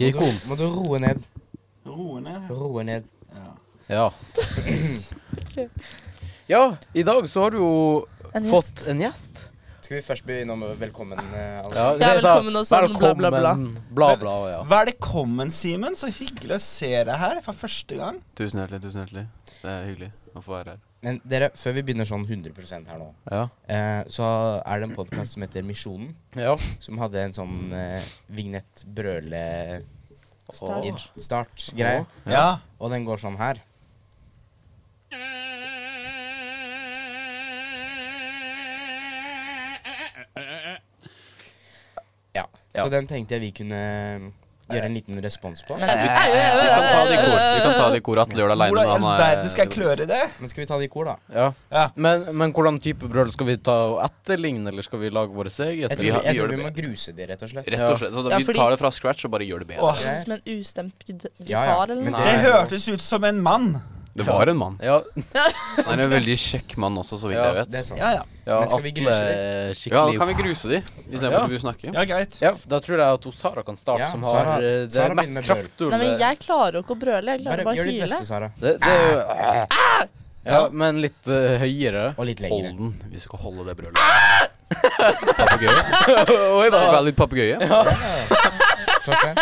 Ikke Må ikon. du, må du roe ned. Roe ned. Roe ned. Ja. Ja. ja, i dag så har du jo En fått gjest. en gjest. Skal vi først begynne med velkommen, eh, alle? Ja, Ja, det- velkommen og sånn, bla, bla, bla. velkommen, Bla, bla, og ja. Velkommen, Simen. Så hyggelig å se deg her for første gang. Tusen hjertelig, tusen hjertelig. Det er hyggelig å få være her. Men dere, før vi begynner sånn 100 her nå, Ja. eh, så er det en podkast som heter Misjonen, ja. som hadde en sånn eh, vignett-brøle-start-greie. Start. Ja. Og den går sånn her. Ja. Så den tenkte jeg vi kunne eh, gjøre en liten respons på. Men, Au, au, au, Vi kan ta det i au, kor. au, Vi kan ta det i kor. Atle gjør det aleine. Hvordan i all eh, verden skal jeg kløre det? Men skal vi ta det i kor, da? Ja. Ja. Men, men hvordan type brøl skal vi ta og etterligne, eller skal vi lage våre eget? Jeg eller? tror, har- jeg vi tror gjør vi det må gruse de, rett og slett. Rett og slett. Så da, Ja, vi fordi- tar det fra scratch og bare gjør det bedre. Åh, au. Som en ustemt git- Ja, ja. gitar, eller Men noe. det- det hørtes ut som en mann. Det var en mann. Ja, Han er en veldig kjekk mann også, så vidt Ja, jeg vet. Det er sant. Ja, ja. ja Men skal vi gruse Atle er Ja, Skikkelig da kan vi gruse de, istedenfor Ja. at vi snakker. Ja, greit. Ja, da tror jeg at hun Sara kan starte, Ja, som har Sara- eh, det Sara begynner mest med brøl. kraftfulle Nei, men jeg klarer jo ikke å brøle. Jeg klarer Bare bare å gjør ditt hyle. beste, Sara. det, det er jo Ah! Ah! Ja, men litt eh, høyere. Og litt Hold lengre. den. Vi skal holde det brølet. Papegøye. Oi da. Vær litt papegøye. Torstein,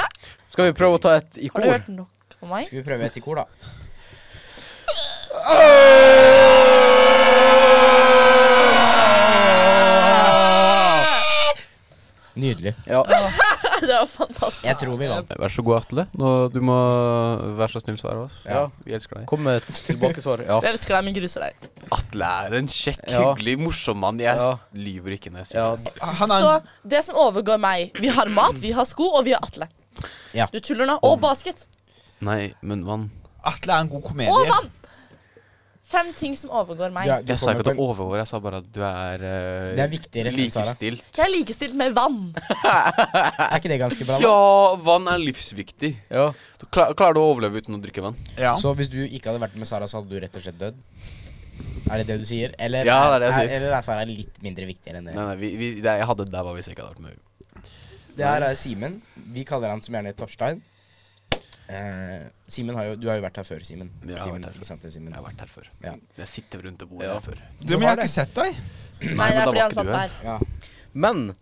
Skal vi prøve å ta et i Har du kor? hørt nok av meg? Skal vi prøve et i kor, da? Nydelig. Ja. Ah. Det var fantastisk. Jeg tror vi vant. Vær så god, Atle. Nå, du må være så snill svare oss. Ja. Vi elsker deg. Kom med et tilbakesvar. Ja. Jeg elsker deg, men gruser deg. Atle er en kjekk, Ja. hyggelig, morsom mann. Jeg Ja. lyver ikke når jeg ja. sier det. Han er Så det som overgår meg Vi har mat, vi har sko, og vi har Atle. Ja. Du tuller nå. Og basket. Nei, men vann. Atle er en god Og komedier. vann. Fem ting som overgår meg. Ja, du Jeg sa kommer ikke på at en- du overgår, jeg sa bare at du er, eh, Det er viktigere enn Sara. likestilt. Jeg er likestilt med vann. Er ikke det ganske bra? da? Ja, vann er livsviktig. ja. Du klar, klarer du å overleve uten å drikke vann? Ja. Så hvis du ikke hadde vært med Sara, så hadde du rett og slett dødd? Er det det du sier? Eller Ja, det er det jeg sier. Eller er Sara litt mindre viktig enn det? Nei, nei, vi, vi, det, jeg hadde dæva hvis jeg ikke hadde vært med. Det her er Simen. Vi kaller han som gjerne Torstein. Eh, Simen har jo Du har jo vært her før, Simen. Ja, jeg har Simen, vært her før. produsenten Simen. Jeg har vært her før. Ja. Jeg sitter rundt det bordet Ja. her før. Du, men jeg har ikke sett deg. Nei, det men da er fordi var han ikke satt du her. der. Ja. Men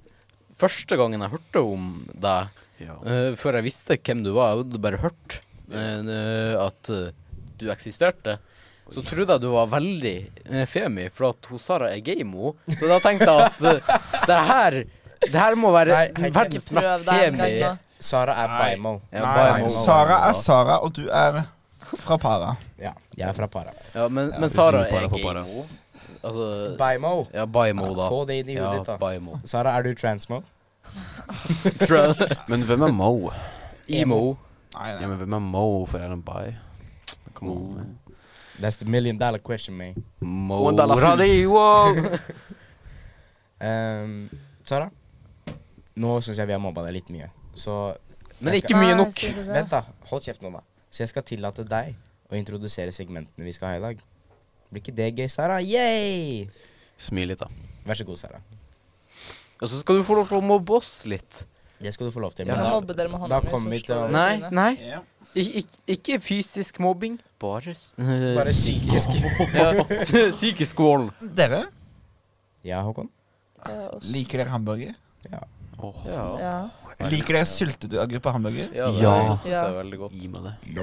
første gangen jeg hørte om deg, Ja. eh, før jeg visste hvem du var, jeg hadde bare hørt eh, at eh, du eksisterte, så trodde jeg du var veldig eh, femi, for at hun Sara er gamo. Så da tenkte jeg at eh, det her det her må være Nei, Heike. verdens Ikke mest prøv deg en femi gang nå. Sara er Nei. bimo. Ja, Nei, Bimo. Sara er Sara, og du er fra Para. Ja, jeg er fra Para. Ja, men, Ja, men du Sara sier er bare for bare. gamo. Altså Bimo. Ja, bimo, da. Få det inn i Ja, hodet ditt, da. bimo. Sara, er du transmo? Men hvem er Mo? Emo. Nei, Ja, nei. men hvem er Mo for er han bi? Come on, man. That's the million dollar question, man. Mo One dollar full. Radio. Ehm, Sara, nå syns jeg vi har mobba deg litt mye. Så Men jeg ikke mye Nei, nok. sier du det? Vent, da. Hold kjeft nå, da. Så jeg skal tillate deg å introdusere segmentene vi skal ha i dag. Blir ikke det gøy, Sara? Yay! Smil litt, da. Vær så god, Sara. Og så skal du få lov til å mobbe oss litt. Det skal du få lov til. Jeg Men kan da, mobbe dere med da hånda mi. kommer vi så til å- slår dere Nei, trynet. nei. Ja. Ik ik ikke fysisk mobbing, bare s- øh, bare psykisk. ja, Psykisk vold. Dere, Ja, Håkon? Det er oss. liker dere hamburger? Åh, Ja, Ja. Liker dere syltetøy på hamburger? ja det Ja. synes jeg er veldig godt. Gi meg det.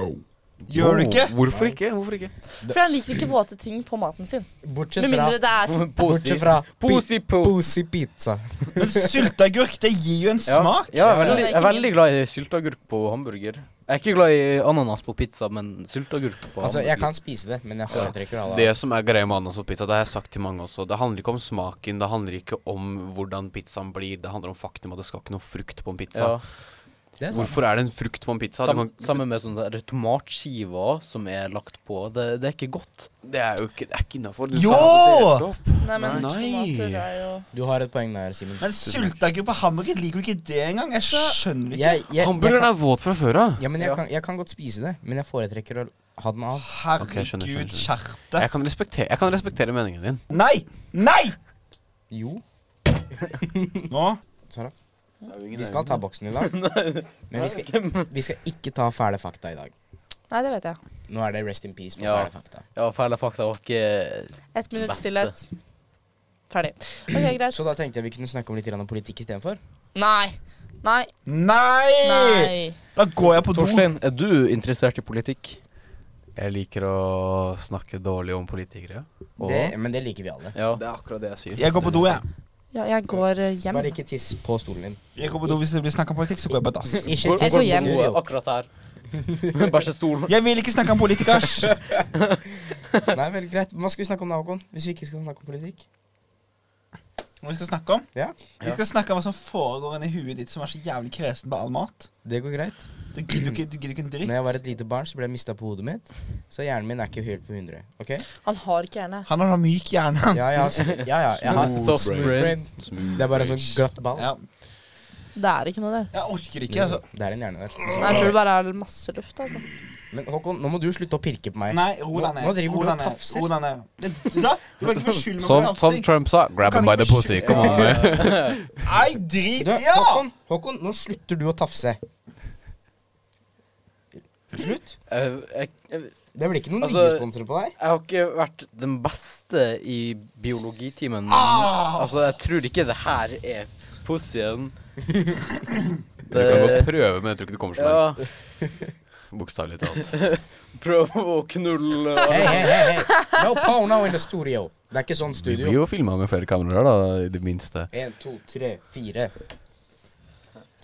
Gjør du ikke? Åh, Hvorfor ikke? Hvorfor ikke? For han liker ikke våte ting på maten sin. Bortsett Med fra mindre det er sånn- Bortsett fra Posi po. Posi pizza. Men sylteagurk, det gir jo en smak. Ja, jeg er veldig, Ja, det jeg er er ikke veldig glad i sylteagurk på hamburger. Jeg er ikke glad i ananas på pizza, men sylteagurk på Altså, hamburger. jeg kan spise det, men jeg foretrekker alle Det som er greia med ananas på pizza, det har jeg sagt til mange også, det handler ikke om smaken, det handler ikke om hvordan pizzaen blir, det handler om faktum at det skal ikke noe frukt på en pizza. Ja, Det er sant. Hvorfor er det en frukt på en pizza? Du sam, kan- sammen med sånne der tomatskiver som er lagt på. Det, det er ikke godt. det er jo ikke, det er ikke innafor. Jo! Nei, men Nei. tomater er jo Du har et poeng der, Simen. Men sylteagurk på hamburger, liker du ikke det engang? Jeg skjønner ikke. Jeg, jeg, jeg, Hamburgeren kan, er våt fra før av. ja, men Ja. jeg, kan, jeg kan godt spise det, men jeg foretrekker å ha den av. Ok, jeg skjønner, Herregud, skjønner, skjerp deg. Jeg kan respektere, jeg kan respektere meningen din. Nei! Nei! Jo, Nå Sara. Vi skal ta boksen i dag. Men vi skal, ikke- vi skal ikke ta fæle fakta i dag. Nei, det vet jeg. Nå er det rest in peace på Ja. fæle fakta. Ja, fæle fakta eh, var ikke Ett minutts Beste. stillhet. Ferdig. OK, greit. Så da tenkte jeg vi kunne snakke om litt grann om politikk istedenfor. Nei. Nei. Nei! Eh! Nei. Da går jeg på do. Torstein, er du interessert i politikk? Jeg liker å snakke dårlig om politikere. Og- Det- Men det liker vi alle. Ja. Det er akkurat det jeg sier. Jeg går på do, jeg. Ja, jeg går eh, hjem. Bare ikke tiss på stolen din. jeg går på do Hvis det blir snakk om politikk, så går jeg på dass. Ikke Hvor, Jeg tiss hvor går på hjem. er stolen. akkurat der? Bæsjestolen. Jeg vil ikke snakke om politikers! Nei, vel, greit. Hva skal vi snakke om da, Håkon? Hvis vi ikke skal snakke om politikk? Hva vi skal snakke om? Ja, Vi skal snakke om hva som foregår inni huet ditt som er så jævlig kresen på all mat. det går greit. Du gidder ikke, du gidder ikke en dritt. Når jeg var et lite barn, så ble jeg mista på hodet mitt. Så hjernen min er ikke helt på 100. OK? Han har ikke hjerne. Han har da myk hjerne. Ja, jeg har, ja, ja, jeg har Smooth brain. Smooth Det er bare sånn brains. glatt ball. Ja. Det er ikke noe der. Jeg orker ikke, altså. Det er en hjerne der. Nei, jeg tror det bare er masse luft. Altså. Men Håkon, nå må du slutte å pirke på meg. Nei, ro deg ned. Nå- nå driver du Ro deg og ned, tafser. Sånn- ro deg ned. Men Da, du kan ikke beskylde meg for Som, som tafsing. Trump sa, grab Kan him by the ikke pussy. skylde- Kom on, man. Nei, drit Du, ja! Håkon, Håkon, nå slutter du å tafse. Slutt. Jeg, Eh, jeg, jeg Det blir ikke noen Altså- nye sponsorer på deg. har ikke vært den beste i biologitimen. Ah! Altså, jeg tror ikke det her er pussyen. Du kan godt prøve, men jeg tror ikke du kommer så Ja, langt. Bokstavelig talt. prøv å knulle Hei, hei, hei, hei. No porno in the studio. Det er ikke sånn Vi blir studio. jo filma med flere kameraer, da, i det minste. En, to, tre, fire.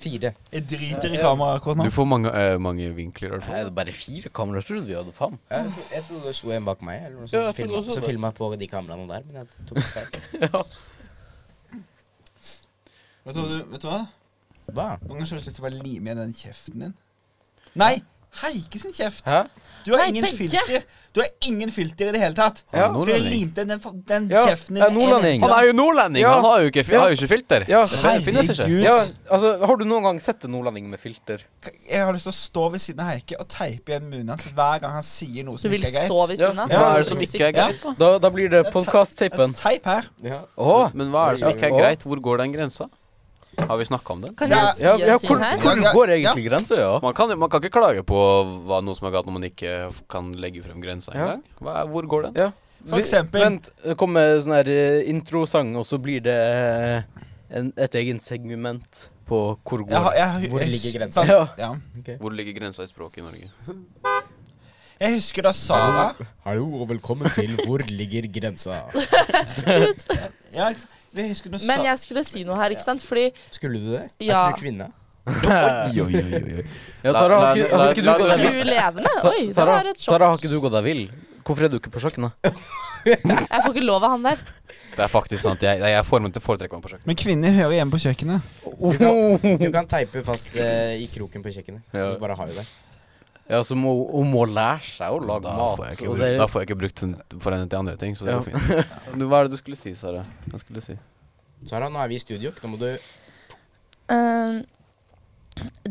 Fire. Jeg driter i kameraet akkurat Du nå. får mange, eh, mange vinkler, i Er hvert fall. det bare fire kameraer? Trodde vi hadde fem. Jeg, tro- jeg trodde det sto en bak meg, eller noe Ja, sånt. jeg så filma- trodde også så det. filma jeg på de kameraene der, men jeg tok feil. Vet du, hva du- vet du hva? Hva? Noen ganger så har jeg lyst til å bare lime igjen den kjeften din. Nei! Heike sin kjeft. Hæ? Du har Nei, ingen begge. filter Du har ingen filter i det hele tatt. Ja, Skulle jeg limt igjen den, fa- den Ja, kjeften din jeg er med en nordlending. eneste Han gang? er jo nordlending! Ja. Han har jo ikke, fi- Ja. har jo ikke filter. Ja. Det finnes ikke. Herregud. ja, altså, har du noen gang sett en nordlending med filter? Jeg har lyst til å stå ved siden av Heike og teipe igjen munnen hans hver gang han sier noe Du som vil ikke er stå greit. ved siden av. Ja, hva er det som Du vil ikke er sitte greit, på. Da, da blir det podcast-teipen. Et teip her. Ja. Å! Men hva er det som ikke er Ja. greit? Hvor går den grensa? Har vi snakka om det? Kan Ja, jeg si Ja, ja, en hvor, ting her? hvor går egentlig grensa, ja? Man kan, man kan ikke klage på hva noe som er galt når man ikke f- kan legge frem grensa Ja. engang. Hva er- Hvor går den? Ja. For Vi- eksempel- Vent, det kommer sånn her eh, introsang, og så blir det eh, en, et egen segment på hvor Jeg, går har- jeg, Hvor jeg- ligger grensa? Ja. Ja. Hvor ligger grensa i språket i Norge? Jeg husker da Sara Hallo og velkommen til Hvor ligger grensa? ja, jeg husker når Men Sa- jeg skulle si noe her, ikke sant? Fordi Skulle du det? Ja. Er ikke du kvinne? Oi, oi, oi, oi. Ja, Sara, har ikke, har ikke du Nei, gått nei, deg nei, vill? du levende? Oi, det Sara, var et sjokk. Sara, har ikke du gått deg vill? Hvorfor er du ikke på kjøkkenet? Jeg får ikke lov av han der. Det er faktisk sant. Jeg, jeg er formet til å foretrekke meg på kjøkkenet. Men kvinner hører hjemme på kjøkkenet. Du kan, du kan teipe fast eh, i kroken på kjøkkenet. Ja. Og så bare har vi det. Ja, så må hun må lære seg å lage Da mat. får jeg ikke og brukt, det- da får jeg ikke brukt den for henne til andre ting, så det Ja. går fint. Du, hva er det du skulle si, Sara? Hva skulle du si? Sara, nå er vi i studio. Nå må du Ehm,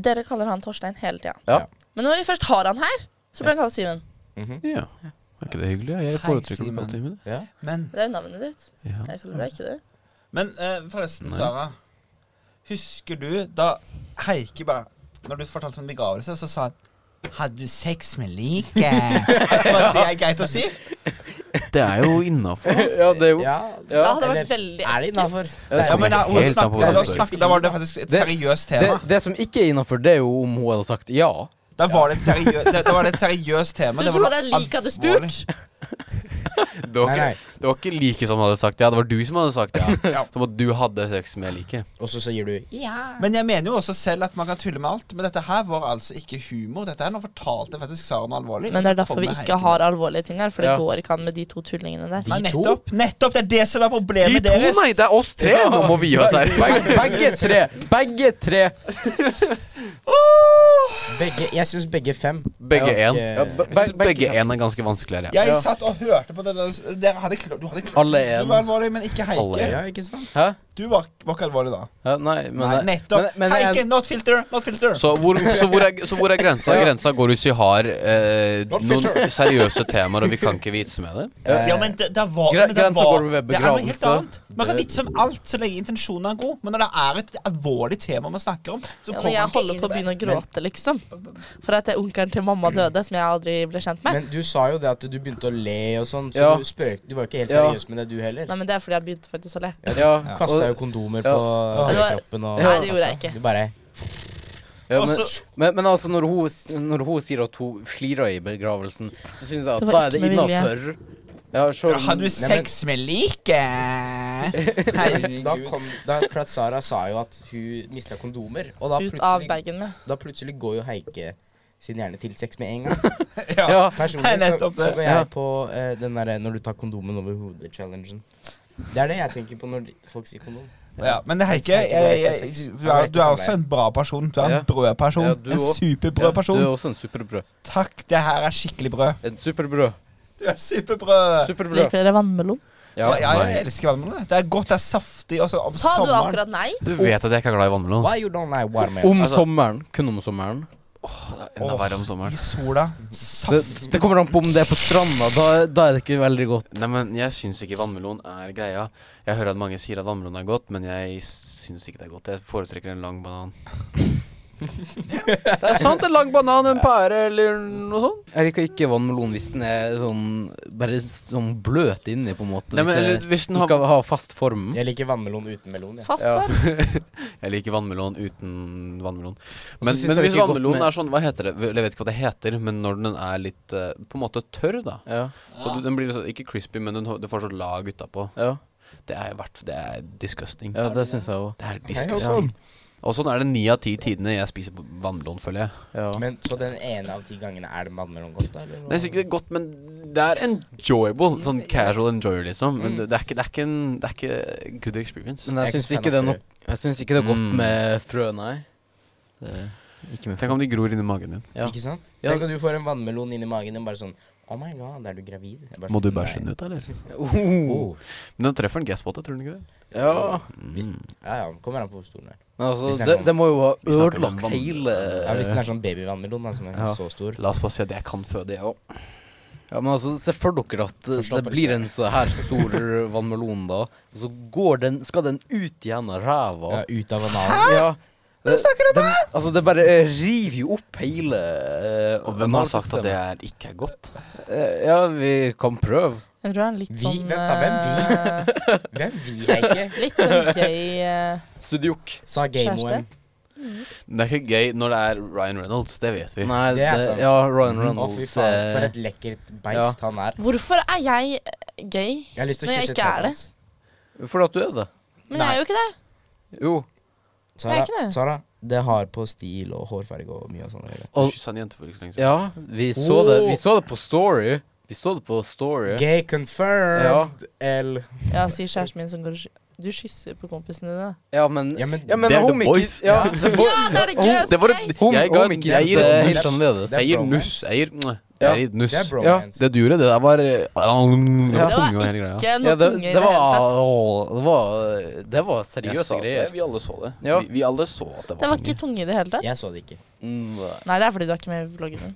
dere kaller han Torstein hele tida. Ja. Men når vi først har han her, så blir han kalt Simen. Mhm. Ja. Er ikke det hyggelig? Jeg Hei, foretrekker å Simen. prate med deg. Ja. Men, Det er jo navnet ditt. Ja. Jeg kaller deg ikke det. men eh, forresten, Nei. Sara. Husker du da Heike bare Når du fortalte om begravelse, så sa han Hadde du sex med liket? Så var det greit å si? Det er jo innafor. ja, det er jo ja. Det hadde Eller, vært Er veldig det ekkelt. innafor? Ja, men da, hun Helt av snakket, hodet. da, snakket, da var det faktisk et Det- seriøst det, tema. det som ikke er innafor, det er jo om hun hadde sagt ja. Da var det et, seriø det, da var det et seriøst tema. Du det tror var noe det er lik hadde alvorlig. spurt? Det var, Nei, nei. ikke, det var ikke like som han hadde sagt ja, det var du som hadde sagt ja. Ja. Som at du hadde sex med like. Og så sier du Men jeg mener jo også selv at man kan tulle med alt. Men dette her var altså ikke humor. Dette her nå fortalte faktisk Sara noe alvorlig. Men det er Så derfor vi kommer ikke Heike har alvorlige ting her, for det Ja. går ikke an med de to tullingene der. Nei, De to? nettopp. Nettopp! Det er det som er problemet deres. det er oss tre! Nå må vi gi oss her. Begge, begge tre! Begge tre! begge, Jeg syns begge fem. Begge er én. ganske- Ja, be- Jeg synes begge én er ganske vanskelig her, ja. Jeg Ja. satt og hørte på det der. Dere hadde klart Du hadde klart Alle er Du var alvorlig, men ikke Heike. Alle er- Ja, ikke sant? Hæ? Du Du var, var ikke alvorlig da. Ja, nei, men eh, Nei, nettopp. men- men jeg- Heike, not filter! Not filter! Så hvor, så, hvor er, så hvor er grensa? Grensa går hvis vi har eh, Not noen filter. seriøse temaer og vi kan ikke vitse med det. Ja, men det, det, var, Gre- men det, grensa var, går ved det er noe helt begravelse. annet. Man kan vitse om alt så lenge intensjonen er god, men når det er et alvorlig tema man snakker om, så Ja, kommer når jeg man holder på ikke å inn begynne å gråte, liksom. For at det er onkelen til mamma døde, som jeg aldri ble kjent med. Eh, Men du sa jo det at du begynte å le og sånn, så Ja. du spøk, du var jo ikke helt Ja. seriøs med det du heller. Nei, men det er fordi jeg begynte faktisk å le. ja, Du og- kasta jo kondomer Ja. på Ja. hele kroppen og Nei, det gjorde jeg ikke. Du bare Ja, Og men, så- men, men altså, når hun, s- når hun sier at hun slirer i begravelsen, så syns jeg at Det var da er det ikke med innafor. Ja, på selv det. om- Har du sex med like? da Herregud. kom, da, For at Sara sa jo at hun mista kondomer, og da Ut av plutselig, bagen min. da plutselig går jo Heike sin hjerne til sex med en gang. Ja. ja. Personlig så, Nettopp så det. går Ja. jeg på eh, den derre når du tar kondomen over hodet-challengen. Det er det jeg tenker på når de- folk sier kondom. ja. Men Heike, jeg, jeg, du, er, du er også en bra person. Du er Ja. en brød person. Ja, du En også. superbrød Du er person. også en superbrød. Takk, det her er skikkelig brød. En superbrød. Du er superbrød. Superbrød. Liker dere vannmelon? Ja, Ja, jeg, nei. jeg elsker vannmelon. Det er godt, det er saftig. Også om Sa du sommeren. akkurat nei? Du vet at jeg ikke er glad i vannmelon. Why you don't like watermelon? Om Altså- sommeren. Kun om sommeren. Enda verre om sommeren. I sola. Det, Saft. det kommer an på om det er på stranda. Da, da er det ikke veldig godt. Nei, men jeg syns ikke vannmelon er greia. Jeg hører at mange sier at vannmelon er godt, men jeg syns ikke det er godt. Jeg foretrekker en lang banan. det er sant, en lang banan, en pære eller noe sånt. Jeg liker ikke vannmelon hvis den er sånn bare sånn bløt inni, på en måte. Nei, hvis men eller, det- hvis den den har skal ha fast form. Jeg liker vannmelon uten melon. Ja. Fast for. Jeg liker vannmelon uten vannmelon. så Men, synes men jeg hvis ikke godt vannmelonen med- er sånn, hva heter det? Jeg vet ikke hva det heter, men når den er litt eh, på en måte tørr, da. Ja. Så du, den blir så, ikke crispy, men den, har- du får så lag utapå. Ja, Det er, verdt, det er disgusting. ja det syns jeg òg. Det er Ja, disgusting. sånn. Og sånn er det ni av ti tidene jeg spiser på vannmelon, føler jeg. Ja. Men Så den ene av ti gangene er det vannmelon godt, da? eller hva? Det er sikkert godt, men det er enjoyable. Sånn casual enjoyer, liksom. Men det er ikke, det er ikke, en, det er ikke good experience. Men jeg Jeg er syns ikke ikke, fan det er av nok- jeg syns ikke det er godt Mm. med frø, nei. Det, ikke med frø. Tenk om de gror inni magen din. Ja. Ikke sant? Ja. Tenk at du får en vannmelon inn i magen og bare sånn Oh my god, er du gravid? Jeg bare Må du sånn, bæsje den «Nei». ut, eller? Oh. Men den treffer en gasspot, tror du ikke det? Ja. Mm. Hvis, ja, ja, kommer an på hvor stor den er. Men Vi altså, snakker det, om- det må jo ha vi snakker om ødelagt vann. hele Ja, Hvis den er sånn babyvannmelon, da, som er Ja. så stor. La oss bare si at jeg kan føde, jeg òg. Ja, men altså, Se for dere at eh, Forstå det på blir det. en så her stor vannmelon, da. Og så går den, skal den ut igjen av ræva. Ja, ut av analen. Ja. Hva snakker du om? Altså, det bare eh, river jo opp hele eh, Og hvem har sagt at det er ikke er godt? Eh, Ja, vi kan prøve. Jeg tror han er litt Vi? sånn Vent da, hvem eh, Hvem vi, Heike? Litt sånn gay eh, Studiok. Sa gameoen. Det er ikke gøy når det er Ryan Reynolds, det Mhm. vet vi. Nei, Det er sant. Ja, Ryan Å, Reynolds. fy faen, eh, for et lekkert beist han er. Hvorfor er jeg eh, gay? Jeg har lyst til å Men jeg kysse ikke er tennene det. hans. Fordi at du er det. Men jeg er jo ikke det. Jo. Jeg Sara, er ikke det. Sara, det har på stil og hårfarge og mye og sånn. å gjøre. Du kyssa en jente for ikke så lenge siden. Ja, vi så det Vi så det på Story. Vi så det på Story. Gay confirmed, L. Ja, sier kjæresten min som går og sky- Du kysser på kompisene dine. Ja, men Ja, men Ja, men Det er hun ikke- The Voice. Ja, Ja, det er det gøyeste! Det var jeg- et, Hom- jeg ga homikis, jeg gir det er nuss. helt annerledes. Jeg gir Det er nuss. bromance. Jeg gir, mwah. Ja. jeg gir nuss. Det er bromance. Det du gjorde, det der var eh, Det Det var var tunge og hele greia. ikke noe ja, det, tunge i det, det var, hele tatt. åh, det var Det var Jeg sa seriøse at det var- greier. Vi alle så det. Ja. Vi, vi alle så at det var, Det var tunge. ikke tunge i det hele tatt. Jeg så det ikke. Mm, Nei, det er fordi du er ikke med i vloggen min.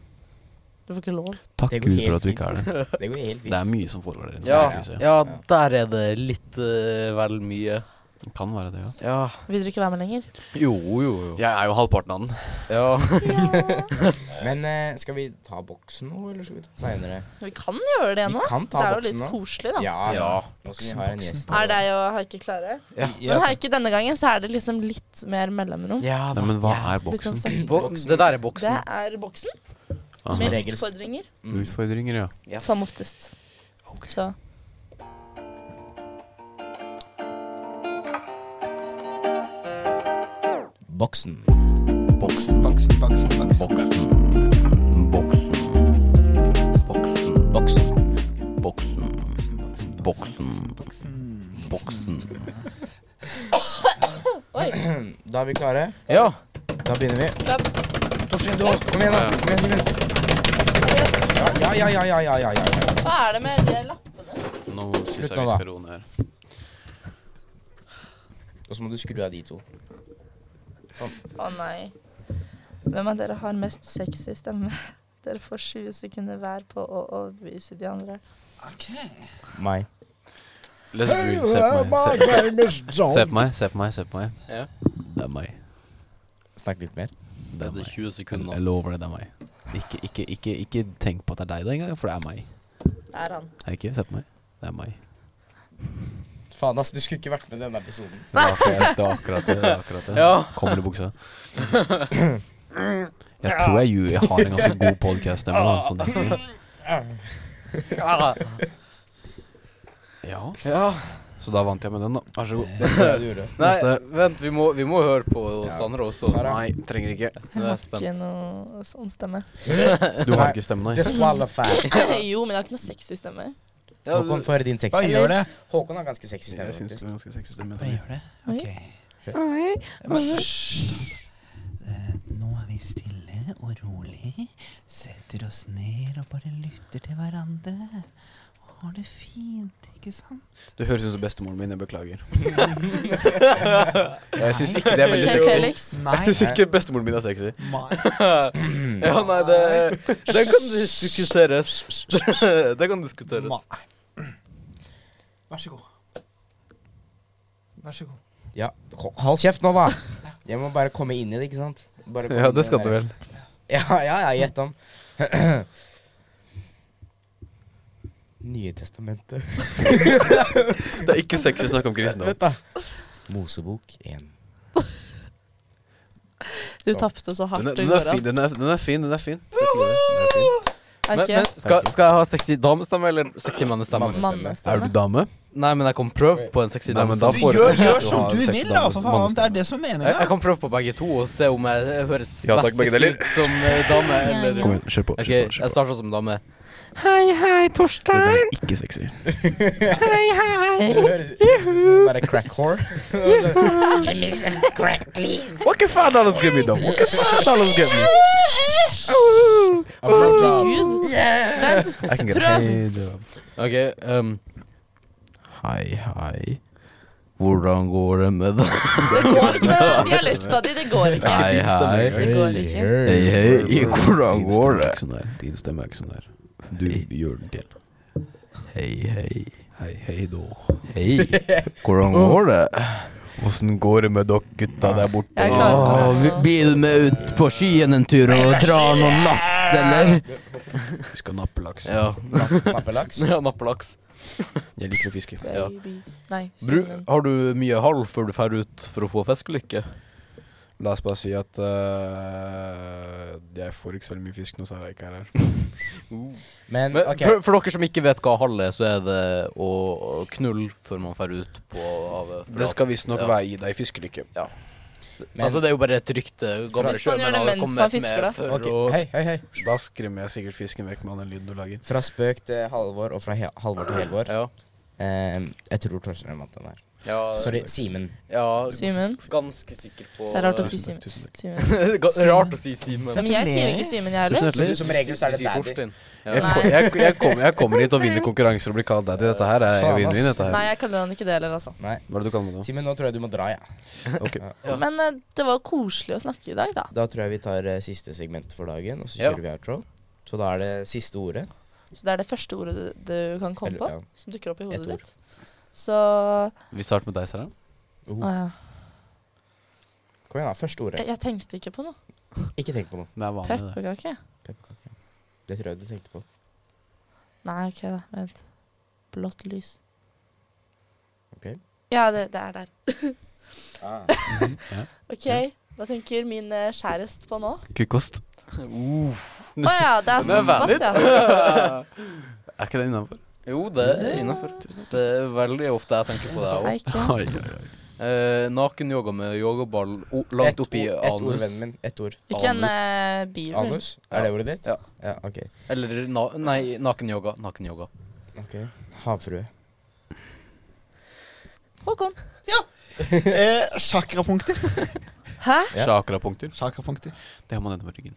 Du får ikke lov. Takk Det går Gud for helt at du ikke er det. Det går helt Det fint. er mye som foregår der. inne, Ja, så det er krise. ja, der er det litt eh, vel mye. Det Kan være det, ja. Ja. Vil dere ikke være med lenger? Jo, jo, jo. Jeg er jo halvparten av den. Ja. Men eh, skal vi ta boksen nå, eller skal vi ta den seinere? Vi kan gjøre det Vi nå. kan ta Det er jo boksen litt nå. koselig, da. Ja. Ja. Nå skal vi ha en gjest. Er deg og Haike klare? Ja. Men Haike, denne gangen så er det liksom litt mer mellomrom. ja da. Nei, men hva er Litt sånn boksen? sakte. Bo det der er Det boksen. er boksen, Aha. med regel. utfordringer, Utfordringer, ja. Ja. som oftest. Så Boksen. Boksen, boksen, boksen, boksen. Boksen. Boksen. Boksen. Boksen, Boksen. boksen, Boksen. boksen. Boksen. Da er vi klare. Ja. Da begynner vi. Da- Torstein, du Kom igjen, da. Kom igjen, Simen. Ja, ja, ja, ja, ja, ja, ja. ja. hva er det med de lappene? Nå synes Slutt nå, jeg vi da. skal roe ned. og så må du skru av de to. Å nei. Hvem av dere har mest sexy stemme? Dere får 20 sekunder hver på å overbevise de andre. Ok. Meg. Les Brune, se på meg. Se, se, se på meg, se på meg. se på meg Ja. Det er meg. Snakk litt mer. Det er Det er meg. 20 Jeg sekunder. lover det, det er meg. Ikke, ikke, ikke, ikke tenk på at det er deg da engang, for det er meg. Det er han. Er det ikke? Se på meg. Det er meg. Faen, ass, du skulle ikke vært med i denne episoden. Det var akkurat det. Var akkurat det, det, var akkurat det. Ja. Kommer i buksa. Jeg tror jeg, ju- jeg har en ganske god podcast stemme da. Sånn det. Ja. ja. Så da vant jeg med den, da. Vær så god. Det tror jeg du gjorde. Nei, Neste. vent, vi må, vi må høre på Ja. Sandra også. Sara. Nei, trenger ikke. Nå Jeg er jeg har spent. ikke noe sånn stemme. Du har ikke stemme, nei? Disqualified. jo, men jeg har ikke noe sexy stemme. Håkon får høre din Hva sexy. gjør det? Håkon har ganske sexy stemme. Jeg syns det faktisk. er ganske sexy stemme. Hva gjør det? Oi. Ok. Men hysj. Eh, Nå er vi stille og rolig. Setter oss ned og bare lytter til hverandre. Og har det fint, ikke sant? Du høres ut som bestemoren min, jeg beklager. jeg syns ikke det er Ok, veldig sexy. Felix. Nei. Jeg syns ikke bestemoren min er sexy. Nei. Ja, nei, det Den kan diskuteres. Det kan diskuteres. Vær så god. Vær så god. Ja, ho- hold kjeft nå, da. Jeg må bare komme inn i det, ikke sant? Bare komme Ja, inn i det skal der- du vel. Ja, ja, ja, gjett om. Nye testamentet. Det er ikke sexy å snakke om kristendom. Vent, da. Mosebok 1. Du tapte så Sånn. Den hardt er, i den går. er fin, den er, den er fin. den er fin Se til det, den er fin. Men, men skal, skal jeg ha sexy damestemme eller sexy mannestemme? Er Mannestemme. du dame? Nei, men jeg kan prøve på en sexy Nei, men da Du damestemme. får- gjør, Ja, gjør du som har du seks vil, da, for faen. damer- Det er mannestemme. det som er Jeg, jeg meninga. kan prøve på begge to og se om jeg høres Ja, takk, best begge deler. ut som eh, dame eller Kom igjen, kjør på. Ok, altså- Kjør på, jeg kjør på. starter som dame. Det er ikke sexy. Det høres det høres ut som en sånn der crack whore. What the fuck dollars give me, though? What the fuck dollars give me? Herregud. Vent. I can get Prøv. paid, uh, Ok, ehm, Hei, hei. Hvordan går det med deg? Det går ikke med den dialekta di. Det går ikke. Hei, hei. Det går ikke. Hei, hei. Hvordan Din går stemme er det? ikke sånn der. Din stemme er ikke sånn der. Du gjør den til. Hei, hei. Hei, hei da. Hei. Hvordan går det? Åssen går det med dere gutta der borte? Jeg klarer ikke. Åh, vi- blir du med ut på skyen en tur og drar noen laks, eller? Vi skal nappe laks. Ja. Nappelaks. ja Nappelaks. Jeg liker å fiske. Ja. Baby. Nei, Simen. Har du mye halv før du drar ut for å få fiskelykke? La oss bare si at eh, jeg får ikke så veldig mye fisk nå, så jeg ikke er her. Men Men OK. for, for dere som ikke vet hva hall er, så er det å å knulle før man drar ut på havet. for Det at- skal visstnok Ja. være i deg fiskelykke. Men, Sånn altså, det er jo bare et rykte. gamle Hvis man gjør sjømenn det har mens kommet man fisker, med da. for ok, å- Hei, hei, hei. Da skremmer jeg sikkert fisken vekk med all den lyden du lager. Fra spøk til Halvor og fra he Halvor til Helvor. Ja. Ehm, jeg tror Torstein vant den der. Ja, Sorry, Simen. ja, Simen. ganske sikker på Det er rart å si Tusen Simen. takk, tusen takk. Simen. Ga- Rart å si Simen. Men jeg sier ikke Simen, jeg heller. hjertelig. Som regel så er det Du sier daddy. Torstein. Jeg, Ja. Nei. ko- jeg, jeg, kom, jeg kommer hit og vinner konkurranser og blir kalt daddy. Dette her er Faen, vinn-vinn. ass. dette Nei, her. jeg kaller han ikke det heller, altså. Nei. Hva er det du kaller meg nå? Simen, nå tror jeg du må dra, ja. Ok. Ja. Men eh, det var koselig å snakke i dag, da. Da tror jeg vi tar eh, siste segment for dagen, og så Ja. kjører vi outro. Så da er det siste ordet. Så det er det første ordet du, du kan komme Eller, på ja. som dukker opp i Et hodet ord. ditt. Så Å Vi starter med deg, Sara. Oh, ja. Kom igjen, da. Første ordet. Jeg, jeg tenkte ikke på noe. Ikke tenk på noe. Det er vanlig, det. Pepperkake? Pepperkake. Det tror jeg du tenkte på. Nei, OK, da. Vent. Blått lys. Ok. Ja, det, det er der. Ah. OK, hva tenker min eh, kjærest på nå? Kukkost. Å ja, det er såpass, ja. Er ikke det innafor? Jo, det er innafor. Det er veldig ofte jeg tenker på det. jeg også. Nei, ikke. Eh, Nakenyoga med yogaball o- langt Et, ord, oppi et ord, anus. vennen min. Et ord. Ikke en uh, beaver. Anus? Er det ordet ditt? Ja. ja ok. Eller na nei, nakenyoga. Nakenyoga. ok. Havfrue. Håkon. Eh, Sjakrapunkter. Hæ? Ja. Chakrapunkter. Sjakrapunkter. Det har man nedover ryggen.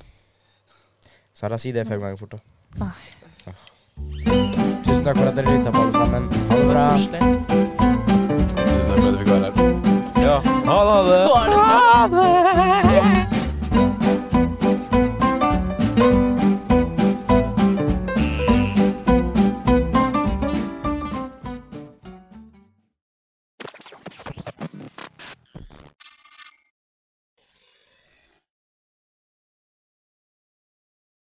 Sara, si det fem ganger fort, da. Nei. Ja. Tusen takk for at dere lytta på, alle sammen. Ha det bra. Koselig. Tusen takk for at du fikk være her. Ja. Ha det. Barnet. Ha det.